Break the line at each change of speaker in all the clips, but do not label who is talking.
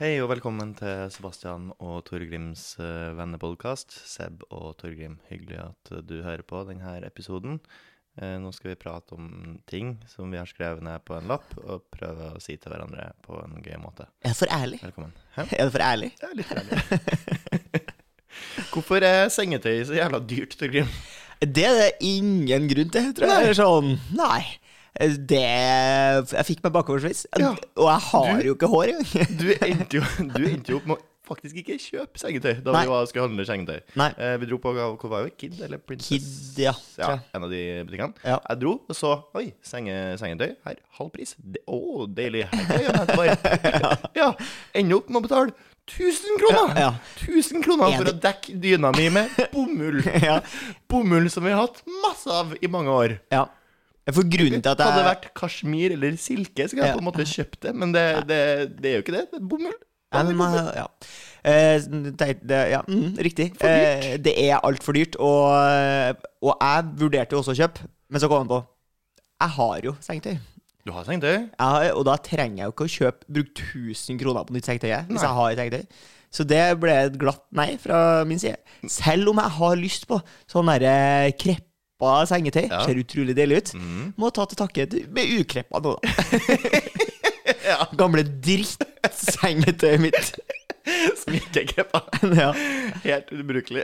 Hei og velkommen til Sebastian og Torgrims eh, vennepodkast. Seb og Torgrim, hyggelig at eh, du hører på denne episoden. Eh, Nå skal vi prate om ting som vi har skrevet ned på en lapp, og prøve å si til hverandre på en gøy måte.
Er det for ærlig?
Velkommen. Hæ?
Er det for ærlig?
Det er litt ærlig. Hvorfor er sengetøy så jævla dyrt, Torgrim?
Det er det ingen grunn til, tror jeg. Eller sånn, nei. Det Jeg fikk meg bakoversveis.
Ja.
Og jeg har
Du-
jo ikke hår engang.
Du endte jo, du endte jo opp med å faktisk ikke kjøpe sengetøy da
Nei.
vi var, skulle handle sengetøy.
Nei.
Eh, Vi dro på Hvor var vi? Kid eller Princess?
Kid, ja.
ja,
tror jeg.
en av de butikkene.
Ja.
Jeg dro og så Oi, senge, sengetøy her, halv pris. Det- Å, deilig. Her kan jeg hente bare. ja. Ender opp med å betale 1000 kroner!
Ja, ja.
1000 kroner
Er
for å dekke dyna mi med bomull.
Ja.
Bomull som vi har hatt masse av i mange år.
ja. For grunnen til at
Hadde det
jeg
vært kasjmir eller silke, så kunne jeg
Ja.
på en måte kjøpt det, men det, det, det er jo ikke det. Det er bomull.
Nei, men, eh, ja. Eh, teit- det- ja, mm, riktig.
For dyrt.
Eh, det er altfor dyrt. Og, og jeg vurderte jo også å kjøpe, men så kom jeg på Jeg har jo sengetøy.
Du har sengetøy?
Jeg har, og da trenger jeg jo ikke å kjøpe brukt 1000 kroner på nytt sengetøy. jeg, Hvis
Nei.
jeg har et sengetøy. Så det ble et glatt nei fra min side. Selv om jeg har lyst på sånn derre kreppa sengetøy.
Ja. Mm.
Ser utrolig deilig ut. Må ta til takke til- med ukreppa nå, da.
Ja.
Gamle drittsengetøyet mitt.
Som ikke er greppa.
ja.
Helt ubrukelig.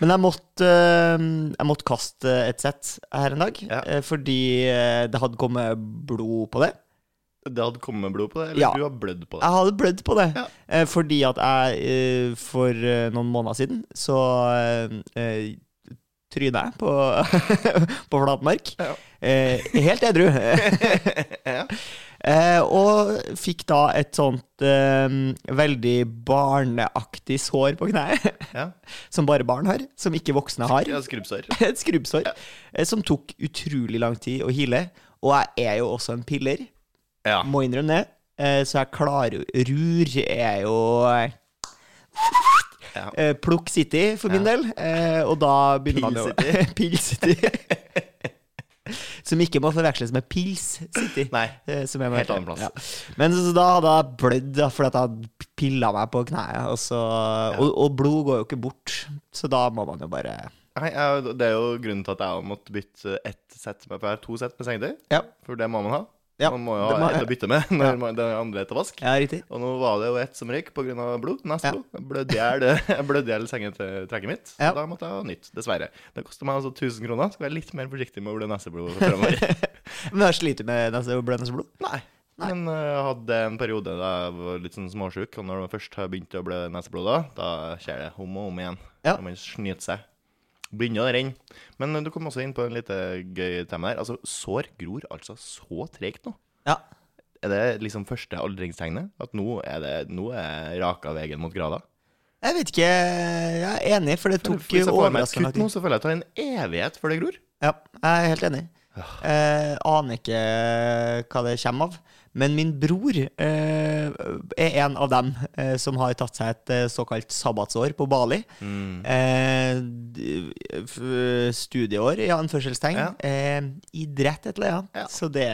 Men jeg måtte, øh, jeg måtte kaste et sett her en dag,
Ja.
øh, fordi øh, det hadde kommet blod på det.
Det hadde kommet blod på det, eller
Ja.
du har blødd på det.
Jeg hadde blødd på det,
Ja.
eh, fordi at jeg eh, for eh, noen måneder siden så eh, eh, tryna jeg på, på flatmark.
Ja.
Eh, helt edru.
Ja.
Eh, og fikk da et sånt eh, veldig barneaktig sår på kneet,
Ja.
som bare barn har, som ikke voksne har.
Ja, skrubbsår.
Et skrubbsår eh, som tok utrolig lang tid å hile. Og jeg er jo også en piller,
Ja.
må innrømme det. Eh, Så jeg klarer jo Rur er jo
Ja.
eh, Plukk City for min del. eh, Og da begynner man jo Pill City. Som ikke må forveksles med Pils City.
Nei.
eh, Som jeg må
Helt
hete.
annen plass.
Ja. Men så, så da hadde jeg blødd da, fordi at jeg hadde pilla meg på kneet. Og, så, og, og blod går jo ikke bort, så da må man jo bare
Nei, jeg- det er jo grunnen til at jeg også måtte bytte ett sett med, for jeg har to sett med sengetøy.
Ja,
For det må man ha.
Ja,
man må jo
det
ha
må-
ett å bytte med når man, det andre er til vask.
ja riktig.
Og nå var det jo ett som røyk pga. blod.
Ja.
Nesblod. Jeg Blødde i hjel- jeg blødde i hjel sengetrekket mitt. Så
Ja.
da måtte jeg ha nytt, dessverre. Det koster meg altså 1000 kroner. Skal være litt mer forsiktig med å blø neseblod framover.
Men jeg sliter med nese- blødende blod.
Nei. Men eh, jeg hadde en periode da jeg var litt sånn småsjuk, og når man først har begynt å blø neseblod, da, da skjer det om og om igjen.
Ja.
Når man snyter seg. Begynner å renne. Men eh, du kom også inn på en lite gøy tema der. Altså, sår gror altså så tregt nå.
Ja.
Er det liksom første aldringstegnet? At nå er det nå er raka veien mot grada?
Jeg vet ikke, jeg er enig, for det tok
Hvis jeg får meg et
overraskende lang
kutt nå,
tid.
så føler jeg at det tar en evighet før det gror.
Ja, jeg er helt enig. Eh, aner ikke hva det kommer av. Men min bror eh, er en av dem eh, som har tatt seg et eh, såkalt sabbatsår på Bali.
Mm.
Eh, d- f- studieår, i anførselstegn.
Ja.
Eh, idrett, et eller annet.
Ja.
Så det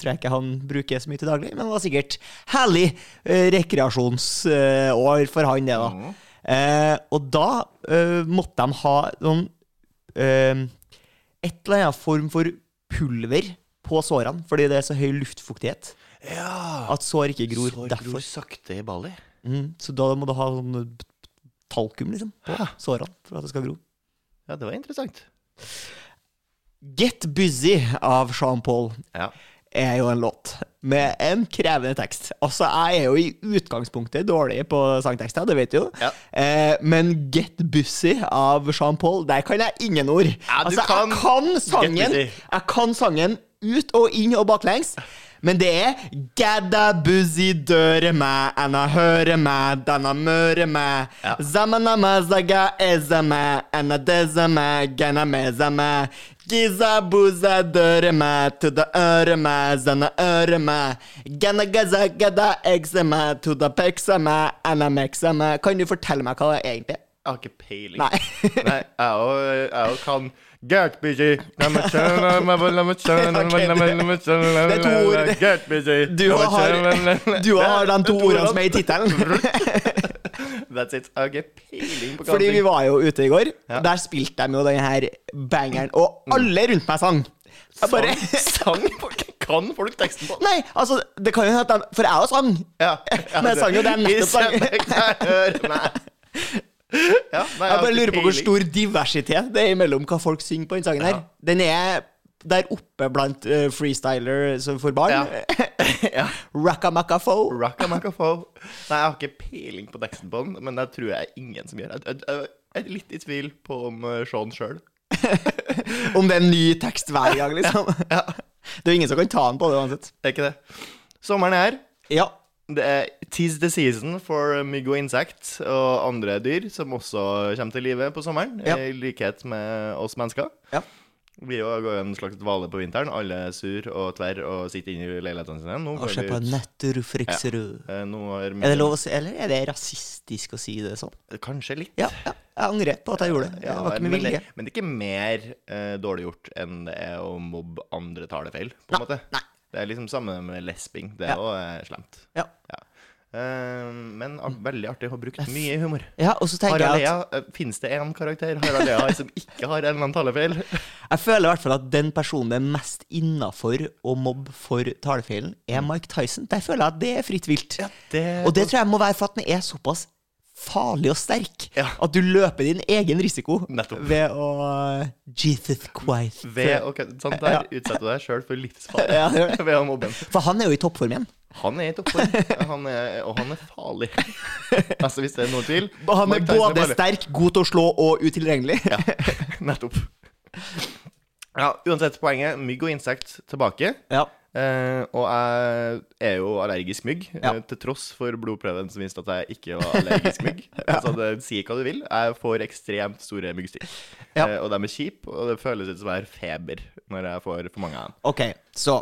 tror jeg ikke han bruker så mye til daglig. Men det var sikkert herlig eh, rekreasjonsår for han, det, da.
Mhm.
Eh, og da eh, måtte de ha noen eh, Et eller annet form for pulver på sårene, fordi det er så høy luftfuktighet
Ja.
at sår ikke gror.
Sår
derfor.
gror sakte i Bali.
Mm, så da må du ha sånn eh, talkum liksom, på
Hæ?
sårene for at det skal gro.
Ja, det var interessant.
Get Busy av Sean Paul
Ja.
er jo en låt med en krevende tekst. Altså, jeg er jo i utgangspunktet dårlig på sangtekster, det vet du jo.
Ja.
Eh, men Get Busy av Sean Paul, der kan jeg ingen ord.
Ja, du
altså, jeg kan sangen
Busy.
Jeg kan sangen ut og inn og baklengs. Men det er Gadda busy døre meg, enna høre meg, denna møre meg.
Ja.
Zamana mazaga ezame, enna dezame, gana mezame. Giza buza døre meg, to the øre meg, zanna øre meg. Gana gaza gada egzame, to the peksame, enna meksame. Kan du fortelle meg hva det egentlig er?
Jeg har ikke peiling.
Nei.
Nei, jeg òg kan Get busy. Det er
to ord.
Get busy.
Du har- Du har de to ordene som er i tittelen.
That's it. Jeg har ikke peiling på hva
Fordi vi
ting-
var jo ute i går.
Ja.
Der spilte de jo den her bangeren, og alle rundt meg sang. Jeg bare
Sang? sang? Kan folk teksten på den?
Nei, altså, det kan jo hende at de For jeg også sang.
Ja,
Men jeg sang jo det jeg nettopp sang.
Hører meg. Ja, nei,
Jeg bare
har ikke
lurer på hvor
peiling.
stor diversitet det er mellom hva folk synger på den sangen her.
Ja.
Den er der oppe blant eh, freestyler som for barn.
Ja. ja.
Rackamacafo.
Rocka Macafo. Nei, jeg har ikke peiling på teksten på den, men det tror jeg ingen som gjør. Jeg, jeg, jeg, jeg er litt i tvil på om eh, Sean sjøl.
Om det er en ny tekst hver gang, liksom. Det er jo ingen som kan ta den på det uansett.
Er ikke det? Sommeren er her.
Ja.
Det er tis the season for mygg og insekt og andre dyr som også kommer til live på sommeren,
Ja.
i likhet med oss mennesker.
Ja.
Vi jo går jo en slags dvale på vinteren. Alle er sur og tverr og sitter inne i leilighetene sine. Nå
Og
går
se
vi
på
ut.
Nøtter Friksrud.
Eh, Nå er,
Er det lov å si Eller er det rasistisk å si det sånn?
Kanskje litt.
Ja, ja. Jeg angrer på at jeg gjorde det. Det var ikke med
men, det,
vilje.
men det er ikke mer eh, dårlig gjort enn det er å mobbe andre talefeil, på en måte.
nei.
Det er liksom samme med lesbing. Det
Ja.
er òg slemt.
Ja.
Ja. Eh, men ar- veldig artig. Har brukt mye humor.
ja, og så tenker
Harald
jeg
Lea,
at
eh, Fins det én karakter Harald Lea har som ikke har en eller annen talefeil?
jeg føler i hvert fall at den personen det er mest innafor å mobbe for talefeilen, er Mike Tyson. Der føler jeg at det er fritt vilt.
Det-
Og det tror jeg må være for at den er såpass farlig og sterk
Ja.
at du løper din egen risiko
Nettopp.
ved å eh, Jesus Christ.
Ved å kødde sånn der utsetter du deg sjøl for livsfare
Ja, det
ved å mobbe en.
For han er jo i toppform igjen.
Han er i toppform, han er- og han er farlig. Altså, hvis det er noen tvil
Han er
Mike Tyson
både
farlig.
sterk, god til å slå og utilregnelig.
Nettopp. Ja, uansett poenget. Mygg og insekt tilbake.
Ja.
Eh, og jeg er jo allergisk mygg,
Ja.
eh, til tross for blodprøven som viste at jeg ikke var allergisk mygg. Så det, si hva du vil, jeg får ekstremt store myggstikk.
Ja.
Eh, og de er kjipe, og det føles ut som jeg har feber når jeg får for mange av dem.
Ok, så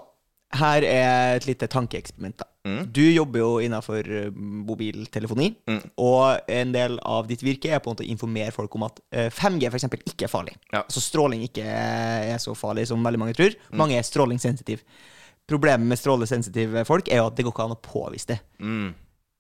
her er et lite tankeeksperiment, da.
Mm.
Du jobber jo innafor mobiltelefoni,
Mm.
og en del av ditt virke er på en måte å informere folk om at eh, 5G for eksempel ikke er farlig.
Ja. Mm.
Så stråling ikke er så farlig som veldig mange tror. Mange er strålingssensitive. Problemet med strålesensitive folk er jo at det går ikke an å påvise det.
Mm.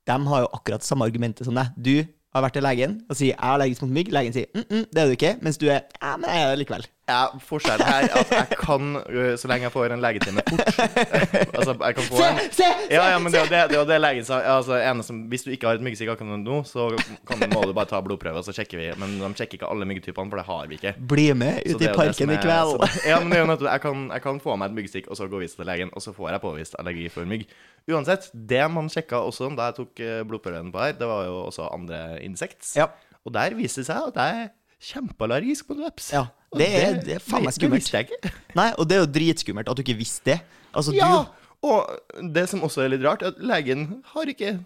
De har jo akkurat samme argumentet som deg. Du har vært til legen og sier 'jeg er allergisk mot mygg'. Legen sier mm -mm, 'det er du ikke', mens du er 'ja, men jeg er det likevel'.
Ja, forskjellen her er at jeg kan, øh, så lenge jeg får en legetime fort Altså, jeg kan få
Se,
en
se, se!
Ja, ja, men det er jo det, det, er jo det legen sa. Ja, Altså, ene som, hvis du ikke har et myggstikk akkurat nå, så kan, må du bare ta blodprøver, så sjekker vi. Men de sjekker ikke alle myggtypene, for det har vi ikke.
Bli med
Så
ut
det er
i
jo det som
parken i
er-
kveld.
så- ja, men det er jo nettopp det. jeg kan, jeg kan få meg et myggstikk, og så gå og vise til legen, og så får jeg påvist allergi for mygg. Uansett, det man sjekka også da jeg tok eh, blodprøven på her, det var jo også andre insekt.
Ja.
Og der viste det seg at jeg er kjempeallergisk mot veps.
Ja,
Og
det er- det er faen meg skummelt.
Det visste jeg ikke.
Nei, og det er jo dritskummelt at du ikke visste det. Altså,
Ja,
du,
og det som også er litt rart, er at legen har ikke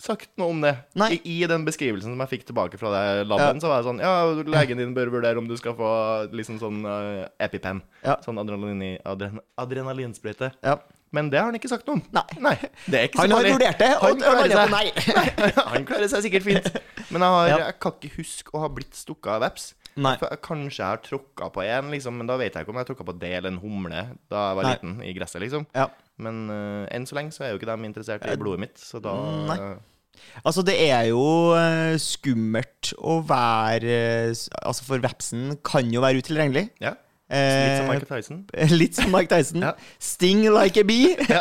sagt noe om det.
Nei.
I, I den beskrivelsen som jeg fikk tilbake fra det laben, så var jeg sånn Ja, legen din bør vurdere om du skal få liksom sånn eh, EpiPen.
Ja.
Sånn adrenalin, adren, adrenalinsprøyte.
ja.
Men det har han ikke sagt noe om.
Nei.
det er ikke så
Han har
farlig.
vurdert det, og
Han
og
klarer
alle
seg.
på nei.
Han klarer seg sikkert fint. Men jeg, har,
Ja.
jeg kan ikke huske å ha blitt stukket av veps.
Nei.
For jeg, kanskje jeg har tråkka på en, liksom, men da vet jeg ikke om jeg tråkka på det eller en humle da jeg var
Nei.
liten, i gresset, liksom.
Ja.
Men eh, enn så lenge så er jo ikke de interessert i blodet mitt, så da
Eh,
eh,
nei. Altså, det er jo eh, skummelt å være eh, s- Altså, for vepsen kan jo være utilregnelig.
Ja. Litt som
Eh,
Michael Tyson.
litt som Mike Tyson.
Ja.
Sting like a bee,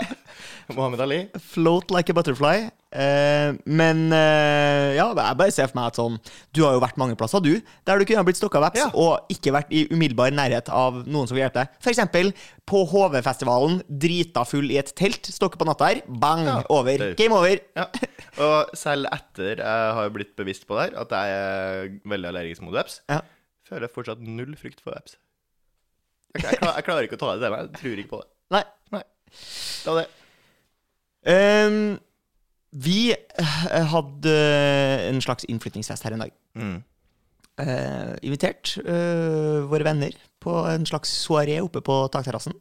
Mohammed Ali.
float like a butterfly. Eh, men eh, ja, jeg bare ser for meg at sånn Du har jo vært mange plasser, du, der du kunne ha blitt stokka veps
Ja.
og ikke vært i umiddelbar nærhet av noen som vil hjelpe deg. F.eks. på HV-festivalen, drita full i et telt, stokke på natta her, bang,
Ja,
over.
det er jo-
Game over.
Ja. Og selv etter jeg har blitt bevisst på det her, at jeg er veldig allergisk mot veps,
Ja.
føler jeg fortsatt null frykt for veps. Jeg, jeg, klar, jeg klarer ikke å ta det til meg. Jeg tror ikke på det.
Nei.
Det var det.
Ehm, vi eh, hadde en slags innflyttingsfest her en dag. eh, invitert eh, våre venner på en slags soaré oppe på takterrassen.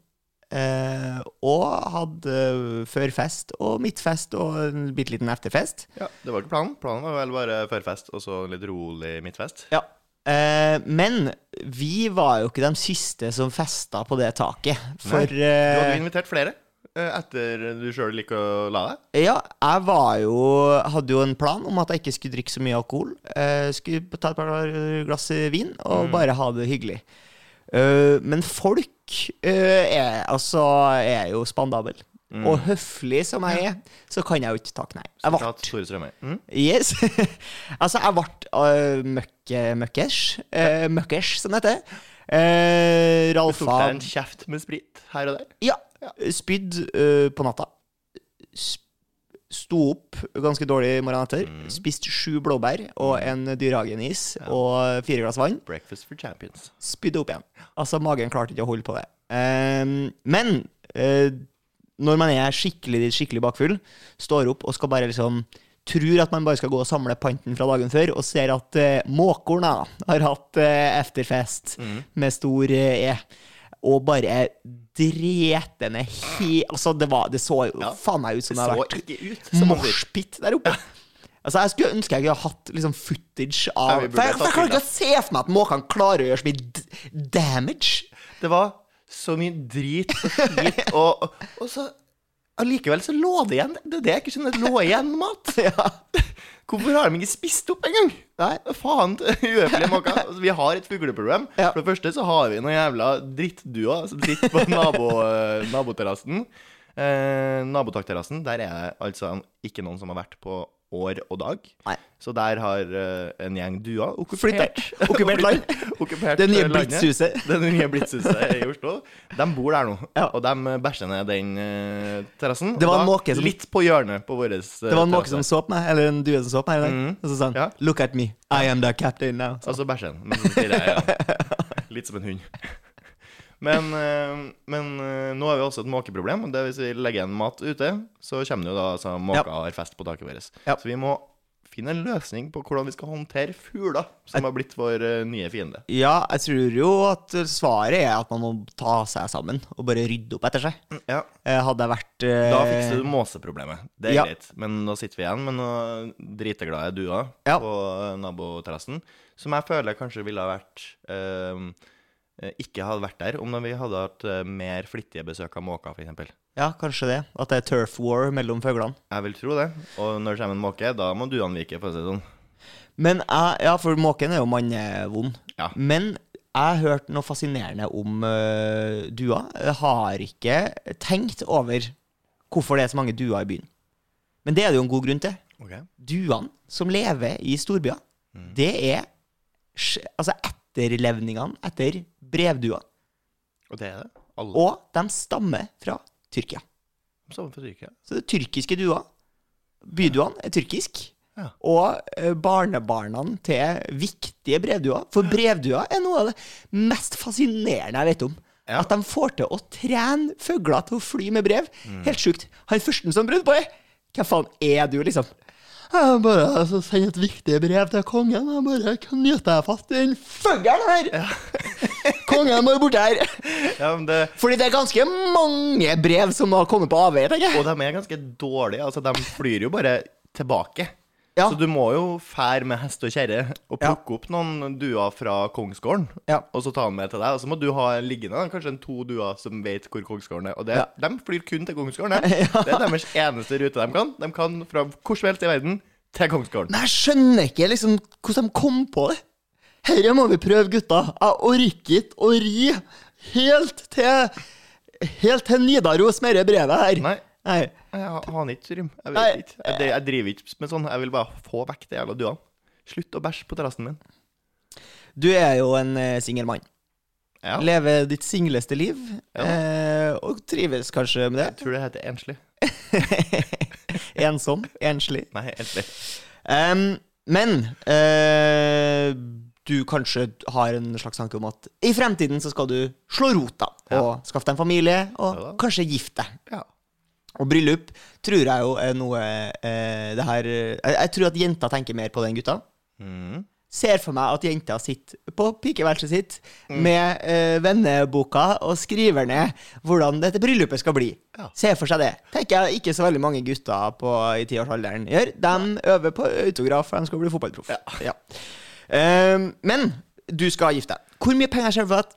Eh, og hadde eh, førfest og midtfest og en bitte liten efterfest.
Ja, det var ikke planen. Planen var vel bare førfest og så litt rolig midtfest.
Ja. Eh, men vi var jo ikke de siste som festa på det taket. For
Du
eh,
hadde jo invitert flere eh, etter du sjøl liker å la deg.
ja, jeg var jo hadde jo en plan om at jeg ikke skulle drikke så mye alkohol. Eh, skulle ta et par glass vin og
Mm.
bare ha det hyggelig. Eh, men folk eh, er, altså, er jo spandabel.
Mm.
Og høflig som jeg er, så kan jeg jo ikke takke nei. Jeg ble
Sitat Tore Strømøy. Mm.
Yes. altså, jeg ble øh, møkke, møkkers, øh, møkkers, som det heter. Eh,
Du tok deg
Ralfa
en kjeft med sprit her og der.
ja, spydd øh, på natta. Sp sto opp ganske dårlig morgenen etter. Spiste sju blåbær og en dyrehagenis og fire glass vann.
Breakfast for champions.
Spydde opp igjen. Altså, magen klarte ikke å holde på det. Ehm, men eh, når man er skikkelig, skikkelig bakfull, står opp og skal bare liksom Tror at man bare skal gå og samle panten fra dagen før, og ser at eh, måkorna har hatt eh, efterfest
Mm.
med stor eh, E. Og bare drete ned he... Altså, det, var, det så jo
Ja.
faen meg ut
Det
som det
så
hadde vært
ikke ut som man sier.
moshpit der oppe. Altså, Jeg skulle ønske jeg kunne hatt liksom, footage av
Ja, vi burde
For jeg,
ha
for jeg
tatt
klarer
bilder.
ikke å se for meg at måkene klarer å gjøre så mye d damage.
Det var så mye drit og skit, og, og så Allikevel så lå det igjen Det er det jeg ikke skjønner. Det lå igjen mat. Hvorfor har de ikke spist opp engang?
Nei.
Faen, uhøflige måker. Altså, vi har et fugleproblem.
Ja.
For det første så har vi noen jævla drittduer som sitter på nabo, eh, naboterrassen. Eh, nabotakterrassen, der er det altså ikke noen som har vært på år og dag.
Nei.
Så der har eh, en gjeng duer
Flytta.
okkupert
Okkupert land.
Okkupert eh,
Det nye
landet.
Blitzhuset.
Det nye Blitzhuset i Oslo. De bor der nå,
Ja.
og de bæsjer ned den eh, terrassen.
Det var
Og
en
da
måke som-
Litt på hjørnet på vår eh, terrasse.
Det var en måke som så på meg, eller en due som så på meg i dag, og så sa han
Mhm. Ja.
Look at me, I am the captain now.
Og så Altså bæsjer den. Men så stirrer jeg igjen. Litt som en hund. Men, eh, men eh, nå har vi også et måkeproblem. Det vil si, legger igjen mat ute, så kommer det jo da altså, måker
Ja.
og har fest på taket vårt.
Ja.
Så vi må finne en løsning på hvordan vi skal håndtere fugler, som har blitt vår eh, nye fiende.
Ja, jeg tror jo at svaret er at man må ta seg sammen og bare rydde opp etter seg.
Ja.
Eh, Hadde jeg vært eh,
Mm. Da fikser du måseproblemet. Det er
ja.
greit. Men da sitter vi igjen med noen driteglade duer
Ja.
på eh, naboterrassen, som jeg føler kanskje ville ha vært eh, eh, Ikke hadde vært der om vi hadde hatt eh, mer flittige besøk av måker, f.eks.
Ja, kanskje det. At det er turf war mellom fuglene.
Jeg vil tro det. Og når det kommer en måke, da må duene vike, for å si det sånn.
Men jeg, ja, for måken er jo mannevond.
Ja.
Men jeg hørte noe fascinerende om uh, dua. Jeg har ikke tenkt over hvorfor det er så mange duer i byen. Men det er det jo en god grunn til. Duene som lever i storbyer, det er sj- altså etterlevningene etter brevdua.
Og det er det. Alle
Og de stammer fra Tyrkia.
sammen for syke.
Så det er tyrkiske duer. Byduene er tyrkisk.
Ja.
Og eh, barnebarna til viktige brevduer. For brevduer er noe av det mest fascinerende jeg vet om.
Ja.
At de får til å trene fugler til å fly med brev.
Mm.
Helt sjukt. Han første som brød på er Hvem faen er du, liksom? Jeg bare altså, sender et viktig brev til kongen. Jeg bare knyter jeg fast den fuglen her! kongen må jo borti her!
Ja, men det...
Fordi det er ganske mange brev som har kommet på avveie, tenker jeg.
Og de er ganske dårlige. Altså, de flyr jo bare tilbake.
Ja.
Så du må jo fære med hest og kjerre og
Ja.
plukke opp noen duer fra kongsgården,
Ja.
og så ta den med til deg. Og så må du ha liggende da, kanskje en to duer som vet hvor kongsgården er. Og det,
Ja.
de flyr kun til kongsgården. de. Det er deres eneste rute de kan. De kan fra hvor som helst i verden til kongsgården.
Men jeg skjønner ikke liksom hvordan de kom på det. Herre må vi prøve, gutta. Jeg orker ikke å ri helt til Helt til Nidaros med det brevet her.
Nei.
Nei.
Jeg har har han ikke rym. Jeg,
Nei.
vet ikke. Jeg, jeg driver ikke med sånn. Jeg vil bare få vekk de jævla duene. Slutt å bæsje på terrassen min.
Du er jo en eh, singel mann.
Ja.
Lever ditt singleste liv,
Ja.
eh, og trives kanskje med
Jeg tror det heter enslig.
det. Ensom, enslig.
Nei, enslig.
Em, men eh, du kanskje har en slags tanke om at i fremtiden så skal du slå rota og skaffe deg en familie, og
Ja da.
kanskje gifte deg.
Ja.
Og bryllup tror jeg jo er noe eh, det her, jeg, jeg tror at jenta tenker mer på det enn gutta.
Mm.
Ser for meg at jenta sitter på pikeværelset sitt
Mm.
med eh, venneboka og skriver ned hvordan dette bryllupet skal bli.
Ja.
Ser for seg det. Tenker jeg ikke så veldig mange gutter på, i tiårsalderen gjør. De øver på autograf, for de skal bli fotballproff. Ja. Eh, men Du skal gifte deg. Hvor mye penger skjer for at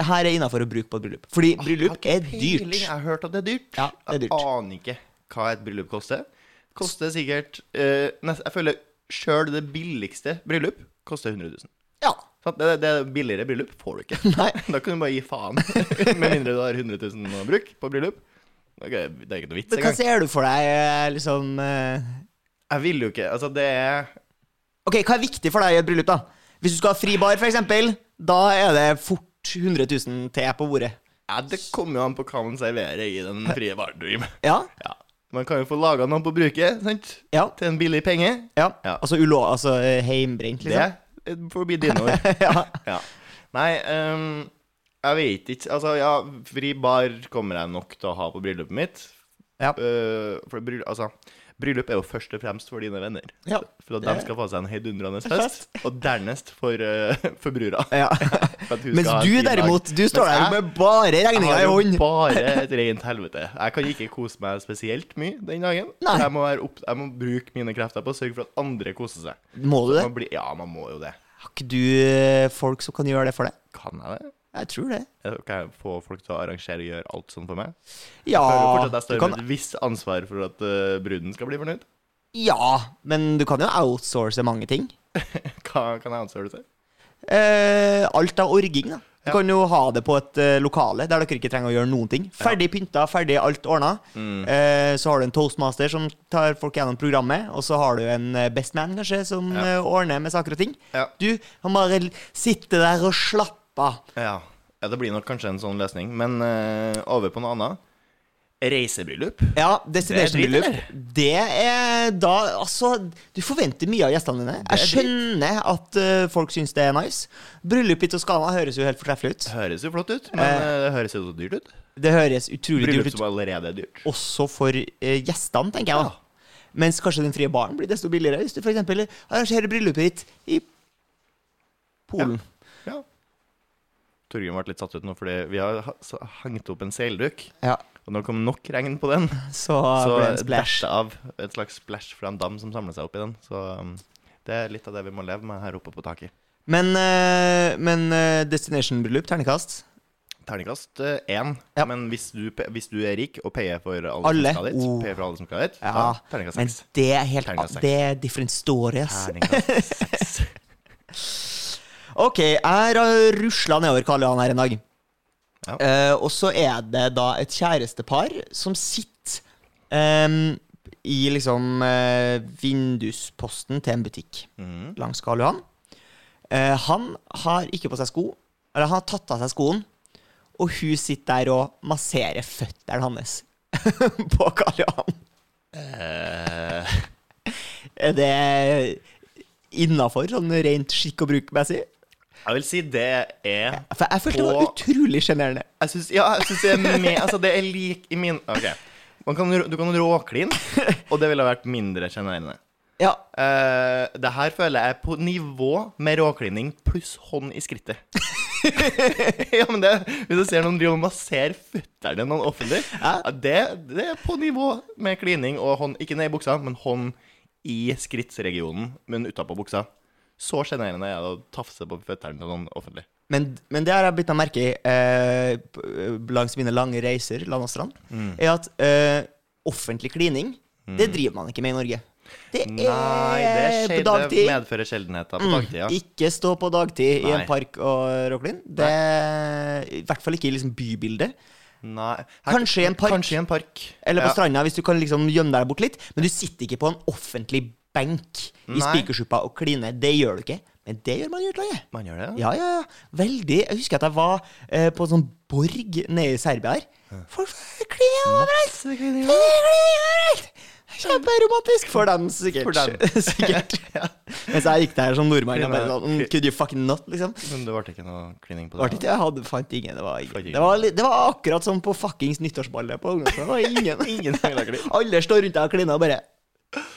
det her er innafor å bruke på et bryllup? Fordi bryllup
Jeg har
er
ikke Ah, peiling.
dyrt.
Jeg har hørt at det er dyrt.
Ja, det er dyrt.
Jeg aner ikke hva et bryllup koster. Koster sikkert eh, nest, Jeg føler sjøl det billigste bryllup koster 100 000.
Ja.
Sant? Det, det er billigere bryllup får du ikke.
Nei.
Da kan du bare gi faen. Med mindre du har 100 000 å bruke på bryllup. Det er ikke- det er ikke noe vits
Men hva
engang.
ser du for deg, eh, liksom eh,
Jeg vil jo ikke Altså, det er
Ok, hva er viktig for deg i et bryllup, da? Hvis du skal ha fri bar, for eksempel, da er det fort 100 000 til på bordet.
ja, Det kommer jo an på hva man serverer i den frie baren du driver med.
Ja?
Ja. Man kan jo få laga noe på bruket, sant?
Ja.
Til en billig penge.
ja.
Ja.
Altså ulo... Altså eh, heimbrent,
Det eh,
liksom?
får bli dine ord.
ja.
Ja. Nei, ehm, jeg vet ikke. Altså, ja, fri bar kommer jeg nok til å ha på bryllupet mitt.
Ja.
Eh, for bryll, altså, bryllup er jo først og fremst for dine venner.
Ja.
For at
Det-
de skal få seg en heidundrende fest. Og dernest for, uh, for brura.
ja.
For at hun
Mens
skal ha en
du
fin dag.
derimot, du står
Mens
der
jeg-
med bare regninga i
Jeg har jo
hånd.
bare et rent helvete. Jeg kan ikke kose meg spesielt mye den dagen.
Nei.
Jeg, må være opp, jeg må bruke mine krefter på å sørge for at andre koser seg.
Må du det?
Man blir, ja, man må jo det.
Har ikke du eh, folk som kan gjøre det for deg?
Kan jeg det?
Jeg tror det.
Kan jeg få folk til å arrangere og gjøre alt sånn for meg?
Ja,
Føler jo fortsatt jeg
du
står
kan,
med et visst ansvar for at eh, bruden skal bli fornøyd.
ja, men du kan jo outsource mange ting.
Hva kan jeg ansvare det til?
Eh, alt av orging, da. Du
Ja.
kan jo ha det på et eh, lokale der dere ikke trenger å gjøre noen ting. Ferdig pynta, ferdig alt ordna.
Mm.
Eh, så har du en toastmaster som tar folk gjennom programmet, og så har du en eh, bestman, kanskje, som eh, ordner med saker og ting.
Ja.
Du kan bare l- sitte der og slappe av.
Ja. ja, det blir nok kanskje en sånn løsning. Men eh, over på noe annet. Reisebryllup.
Ja, destination
Det er dritt,
bryllup. Det er da Altså, du forventer mye av gjestene dine. Jeg
Det er
skjønner at eh, folk syns det er nice. Bryllup i Toskana høres jo helt fortreffelig ut.
Det høres jo flott ut, men eh, det høres jo så dyrt ut.
Det høres utrolig
Bryllup
dyrt ut
som allerede er dyrt.
også for eh, gjestene, tenker jeg. da. Mens kanskje den frie baren blir desto billigere hvis du f.eks. arrangerer bryllupet ditt i Polen.
Ja. Torgrim ble litt satt ut nå fordi vi har ha- så- hengt opp en seilduk.
Ja.
Og når det kom nok regn på den,
Så,
så
blir det en
dash
splash.
av et slags splash fra en dam som samler seg opp i den. Så um, det er litt av det vi må leve med her oppe på taket.
Men, eh, men eh, destination-bryllup, ternekast.
Terningkast eh, én.
Ja.
Men hvis du, pe- hvis du er rik og payer for alle,
Alle?
som skal dit,
Oh.
payer for alle som skal dit,
Ja,
da terningkast
Men
seks.
det er helt
Terningkast seks.
Det er different story, ass.
Terningkast seks.
Ok, jeg har rusla nedover Karl Johan her en dag.
Ja.
Eh, og så er det da et kjærestepar som sitter ehm, i liksom eh, vindusposten til en butikk
Mhm.
langs Karl Johan. Eh, han har ikke på seg sko, eller han har tatt av seg skoen, og hun sitter der og masserer føttene hans på Karl Johan.
Eh,
Er det innafor, sånn rent skikk og bruk-messig?
jeg vil si det er
For jeg følte det var
På-
utrolig sjenerende.
Jeg syns ja, jeg syns det er mer Altså, det er lik i min OK. Man kan, rå- du kan råkline, og det ville vært mindre sjenerende.
Ja,
Eh, det her føler jeg er på nivå med råklining pluss hånd i skrittet. ja, men det, Hvis du ser noen drive og massere føttene noen offentlig,
Ja.
ja, det, det er på nivå med klining og hånd Ikke ned i buksa, men hånd i skrittsregionen, men utapå buksa. Så sjenerende er det å tafse på føttene til noen offentlig.
Men, men det har jeg bitt meg merke i eh, p- langs mine lange reiser land og strand,
Mm.
er at eh, offentlig klining, det driver man ikke med i Norge. Det er
Nei, det, skjer,
Eh, på dagtid. Mm.
det medfører sjeldenheter på dagtid. Ja.
Ikke stå på dagtid i en
Nei.
park og råkline. Det I hvert fall ikke i liksom bybildet.
Nei.
Kanskje i en park.
Kanskje i en park.
Eller på
Ja.
stranda, hvis du kan liksom gjemme deg bort litt. Men du sitter ikke på en offentlig benk i
Nei.
spikersuppa og kline. Det gjør du ikke. Men det gjør man i utlandet.
Man gjør det? ja.
Ja, ja, ja. Veldig. Jeg husker at jeg var eh, på en sånn borg nede i Serbia her. Folk kliner overalt!
Masse klining.
Kliner overalt! Kjemperomantisk for dem, sikkert.
For dem.
sikkert. Mens jeg gikk der som nordmann. og
Kliner.
bare sånn, mm, Could you fucking not, liksom?
Men det ble ikke noe klining på
Det
det?
var ikke, jeg hadde, fant ingen. Det var,
Fant
ingen.
ingen.
Det var, li- det var akkurat som på fuckings nyttårsballet på ungdomsskolen. Det var ingen.
Ingen som ville ha klipp.
Alle står rundt deg og kliner og bare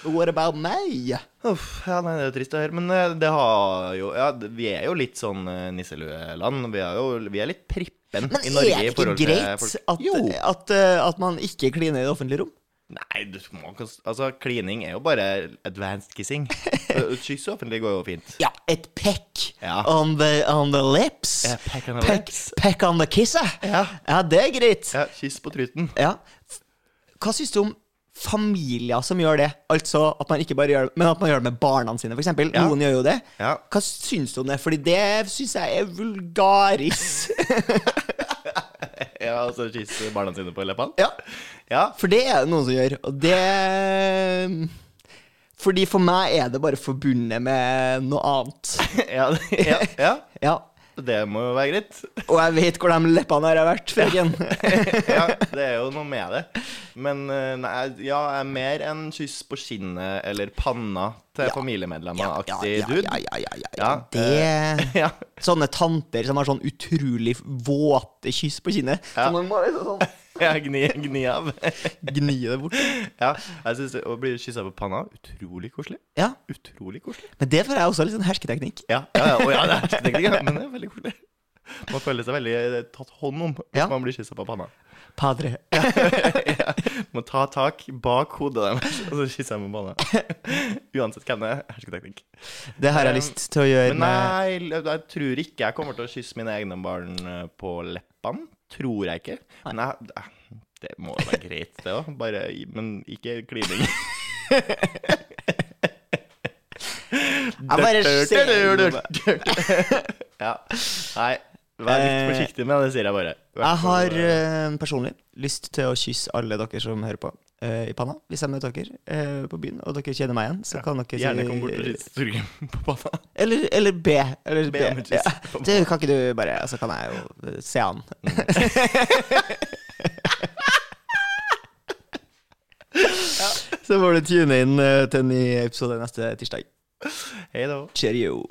What about meg?
Uff, ja, nei, det er jo trist å høre, men eh, det har jo Ja, det- vi er jo litt sånn eh, nisselueland. Vi er jo vi er litt prippen
Men
i
er
Norge
det
i
ikke
forhold til
greit
folk.
at,
Jo.
at, eh, at man ikke kliner i det offentlige rom?
Nei, du må ikke Altså, klining er jo bare advanced kissing. Et Kyss offentlig går jo fint.
Ja, et peck
Ja.
on, the, on the lips.
Ja, peck on the lips.
peck on the kissa.
Ja.
det er greit.
Ja, kyss på truten.
Ja. F- Hva syns du om familier som gjør det? Altså at man ikke bare gjør det, men at man gjør det med barna sine, f.eks. eksempel
Ja.
Noen gjør jo det.
Ja.
Hva syns du om det? Fordi det syns jeg er vulgaris.
Ja, altså kysse barna sine på leppene?
ja.
Ja.
For det er det noen som gjør, og det Fordi for meg er det bare forbundet med noe annet.
Ja, ja, ja.
Ja.
Det må jo være greit.
Og jeg vet hvor de leppene her har vært, frøken.
Ja, det er jo noe med det. Men eh, nei, ja, jeg er mer enn kyss på skinnet eller panna til familiemedlemmer-aktig
ja, ja,
dude.
ja, ja, ja, ja.
Ja,
Det
Ja.
Sånne tanter som har sånn utrolig våte kyss på kinnet.
Ja.
Så man må liksom sånn
Jeg gni, gni av.
gni det bort.
Ja, jeg synes Å bli kyssa på panna, utrolig koselig.
Ja,
Utrolig koselig.
Men det får jeg også litt sånn hersketeknikk.
Ja, ja, ja, å ja det er hersketeknikk, ja, men det er veldig koselig. Man føler seg veldig eh, tatt hånd om hvis
Ja.
man blir kyssa på panna.
Padre.
ja. Må ta tak bak hodet deres, og så kysser jeg med panna. Uansett hvem det er, hersketeknikk.
Det har jeg
Um,
lyst til å gjøre
Men eh,
med
nei, jeg, jeg tror ikke jeg kommer til å kysse mine egne barn eh, på leppene. Tror jeg ikke. Men jeg, eh, det må jo være greit, det òg. Bare i- Men ikke klining.
Jeg bare ser
Ja. Nei, vær litt forsiktig med det, sier jeg bare. I hvert
Eh, Jeg
fall,
har
eh,
eh, personlig lyst til å kysse alle dere som hører på, eh, i panna. Hvis jeg møter dere eh, på byen, og dere kjenner meg igjen, så kan dere
Gjerne kom bort og kyss Torgrim på panna.
Eller, eller B. Eller
Be
B.
om et kyss
Ja.
på
Du, kan ikke du bare Så kan jeg jo eh, se han. Så må du tune inn eh, til en ny episode neste tirsdag.
Hei da.
Cheerio.